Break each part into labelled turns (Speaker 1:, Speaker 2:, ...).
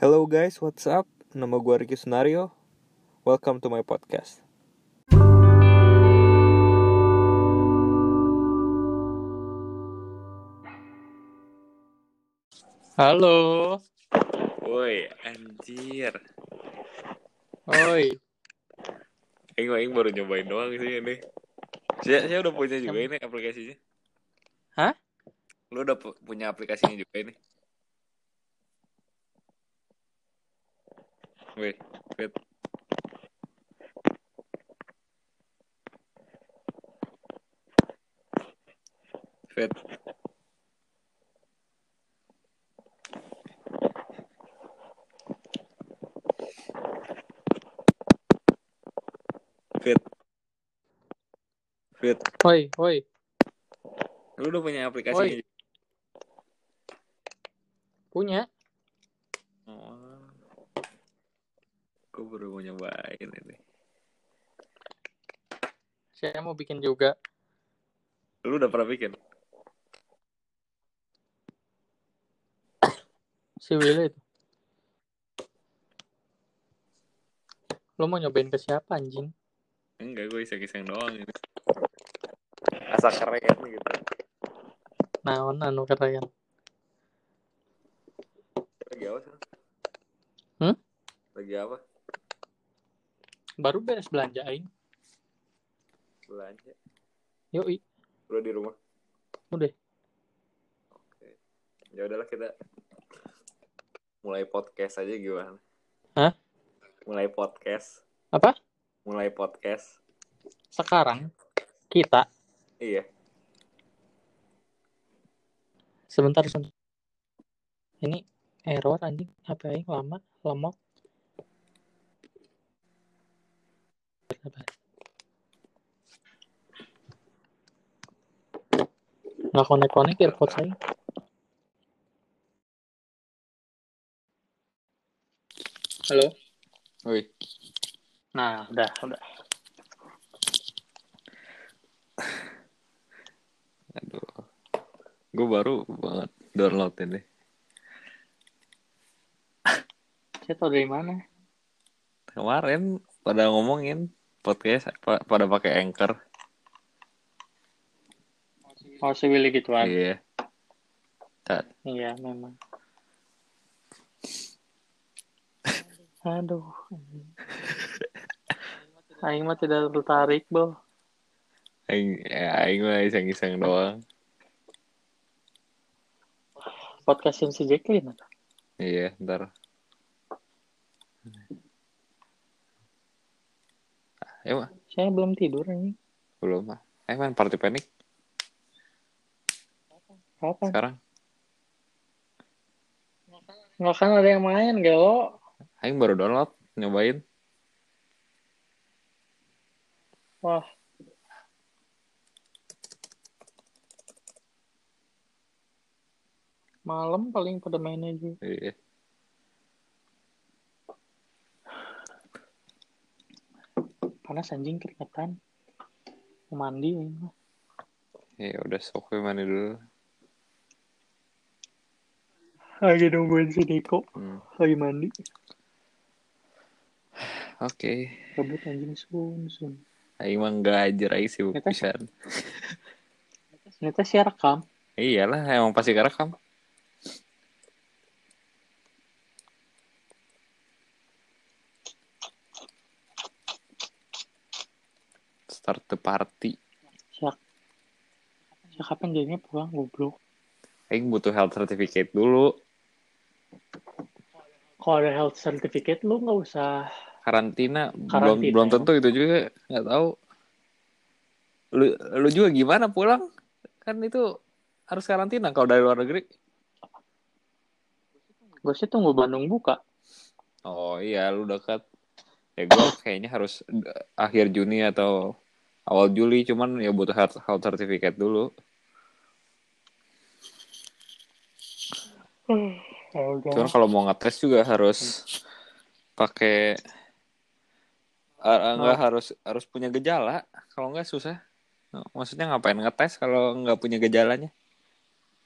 Speaker 1: Hello guys, what's up? Nama gue Ricky Sunario. Welcome to my podcast.
Speaker 2: Halo.
Speaker 3: Woi, anjir.
Speaker 2: Oi.
Speaker 3: Aing aing baru nyobain doang sih ini. Saya saya udah punya juga ini aplikasinya.
Speaker 2: Hah?
Speaker 3: Lu udah pu- punya aplikasinya juga ini? Woi, wait. Fit, fit, fit.
Speaker 2: Oi, oi.
Speaker 3: Lu udah punya aplikasinya?
Speaker 2: Woi. Punya?
Speaker 3: Oh. Gue baru mau nyobain ini.
Speaker 2: Saya mau bikin juga.
Speaker 3: Lu udah pernah bikin?
Speaker 2: Si Willy itu. Lo mau nyobain ke siapa anjing?
Speaker 3: Enggak, gue iseng-iseng doang ini. Asal keren gitu.
Speaker 2: Naon anu keren.
Speaker 3: Lagi apa sih?
Speaker 2: Hmm?
Speaker 3: Lagi apa?
Speaker 2: Baru beres belanja aing.
Speaker 3: Belanja.
Speaker 2: Yoi.
Speaker 3: Udah di rumah.
Speaker 2: Udah.
Speaker 3: Oke. Ya udahlah kita mulai podcast aja gimana?
Speaker 2: Hah?
Speaker 3: Mulai podcast.
Speaker 2: Apa?
Speaker 3: Mulai podcast.
Speaker 2: Sekarang kita
Speaker 3: Iya.
Speaker 2: sebentar sebentar. Ini error anjing. HP aing lama, lemot. Nggak connect-connect earpods aing. Halo.
Speaker 3: Woi.
Speaker 2: Nah, udah, udah.
Speaker 3: Aduh. Gue baru banget download ini.
Speaker 2: Saya tahu dari mana?
Speaker 3: Kemarin pada ngomongin podcast pa- pada pakai anchor.
Speaker 2: Oh, si Willy gituan.
Speaker 3: Iya. Ta-
Speaker 2: Iya, memang. Aduh. Aing mah tidak tertarik, Bo.
Speaker 3: Aing, ya, aing mah iseng-iseng doang.
Speaker 2: Podcastin si Jacqueline.
Speaker 3: Iya, ntar. Emang
Speaker 2: Saya belum tidur, ini.
Speaker 3: belum ah. Eh main party panik
Speaker 2: Kapan?
Speaker 3: sekarang.
Speaker 2: Nggak kan ada yang main, gelo.
Speaker 3: Aing baru download, nyobain.
Speaker 2: Wah. Malam paling pada mainnya juga.
Speaker 3: Iya.
Speaker 2: Panas anjing keringetan. Mau Mandi, aing mah.
Speaker 3: Ya udah sok gue mandi dulu.
Speaker 2: Lagi nungguin si Niko.
Speaker 3: Hmm.
Speaker 2: Lagi mandi.
Speaker 3: Oke.
Speaker 2: Rebut anjing sun sun.
Speaker 3: Aing mah enggak anjir aing sibuk
Speaker 2: Kita-
Speaker 3: pisan.
Speaker 2: Ternyata sih rekam.
Speaker 3: Iyalah, emang pasti kerekam. Start the party.
Speaker 2: Siap. Siap kapan jadinya pulang goblok.
Speaker 3: Aing butuh health certificate dulu.
Speaker 2: Kalau ada health certificate lu nggak usah.
Speaker 3: Karantina, belum
Speaker 2: Karantina.
Speaker 3: belum tentu itu juga nggak tahu. Lu lu juga gimana pulang? Kan itu harus karantina kalau dari luar negeri.
Speaker 2: Gue sih tunggu Bandung buka.
Speaker 3: Oh iya, lu dekat. Ya gue kayaknya harus d- akhir Juni atau awal Juli, cuman ya butuh health, health certificate dulu.
Speaker 2: Ya udah.
Speaker 3: Cuman kalau mau ngetes juga harus pakai ah, ah, nggak harus harus punya gejala. Kalau nggak susah. Maksudnya ngapain ngetes kalau nggak punya gejalanya?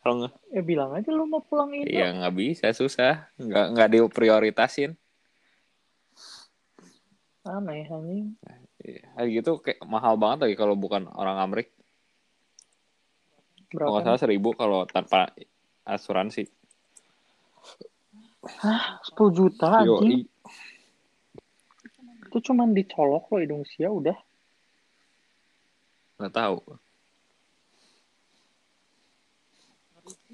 Speaker 3: Kalau nggak,
Speaker 2: Ya bilang aja lu mau pulang Indo.
Speaker 3: ya nggak bisa, susah. Nggak nggak diprioritasin.
Speaker 2: Aneh anjing.
Speaker 3: Hari gitu kayak mahal banget lagi kalau bukan orang Amrik. Kalau nggak
Speaker 2: Berapa?
Speaker 3: salah seribu kalau tanpa asuransi.
Speaker 2: 10 juta anjing.
Speaker 3: Yoi.
Speaker 2: Itu cuman dicolok lo hidung sia udah.
Speaker 3: nggak tahu.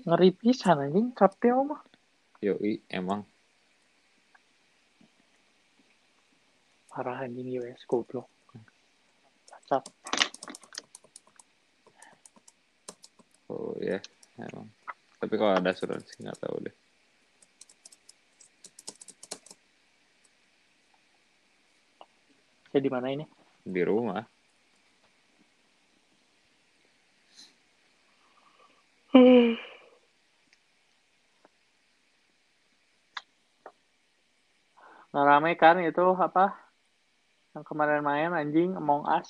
Speaker 2: Ngeri pisan anjing kapil mah.
Speaker 3: Yoi, emang.
Speaker 2: Parah anjing US goblok. Cacat.
Speaker 3: Oh ya, emang. Tapi kalau ada asuransi nggak tahu deh.
Speaker 2: Saya di mana ini?
Speaker 3: Di rumah.
Speaker 2: Nah, rame kan itu apa? Yang kemarin main anjing Among Us.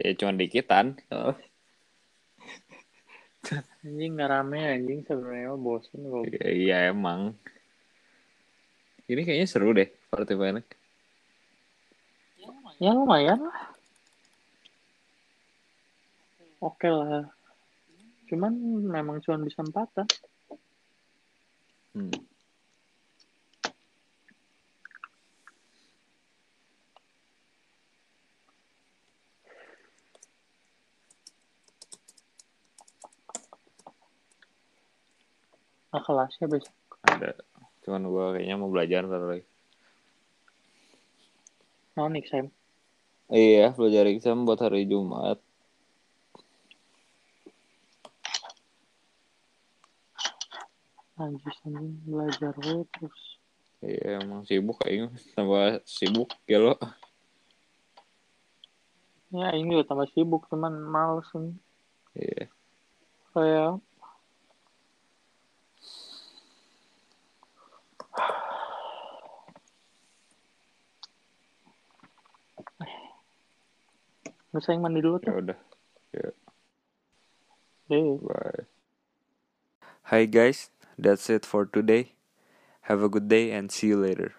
Speaker 3: Ya cuma dikitan. Oh,
Speaker 2: Anjing nggak rame anjing sebenarnya mah bosen goblok.
Speaker 3: Iya, iya, emang. Ini kayaknya seru deh Party Planet.
Speaker 2: Ya lumayan lah. Oke lah. Cuman memang cuma bisa empatan.
Speaker 3: Hmm.
Speaker 2: Nah, kelasnya besok.
Speaker 3: Ada. Cuman gue kayaknya mau belajar ntar lagi.
Speaker 2: Nah, next time.
Speaker 3: Iya, belajar exam buat hari Jumat.
Speaker 2: Anjing anjing belajar gue terus.
Speaker 3: Iya, emang sibuk kayaknya. Tambah sibuk ya lo.
Speaker 2: Ya ini udah tambah sibuk cuman males nih.
Speaker 3: Iya.
Speaker 2: Kayak Lu sayang mandi dulu
Speaker 3: Ya
Speaker 2: tuh. Eh.
Speaker 3: udah.
Speaker 2: Deh.
Speaker 3: Bye.
Speaker 1: Hi guys, that's it for today. Have a good day and see you later.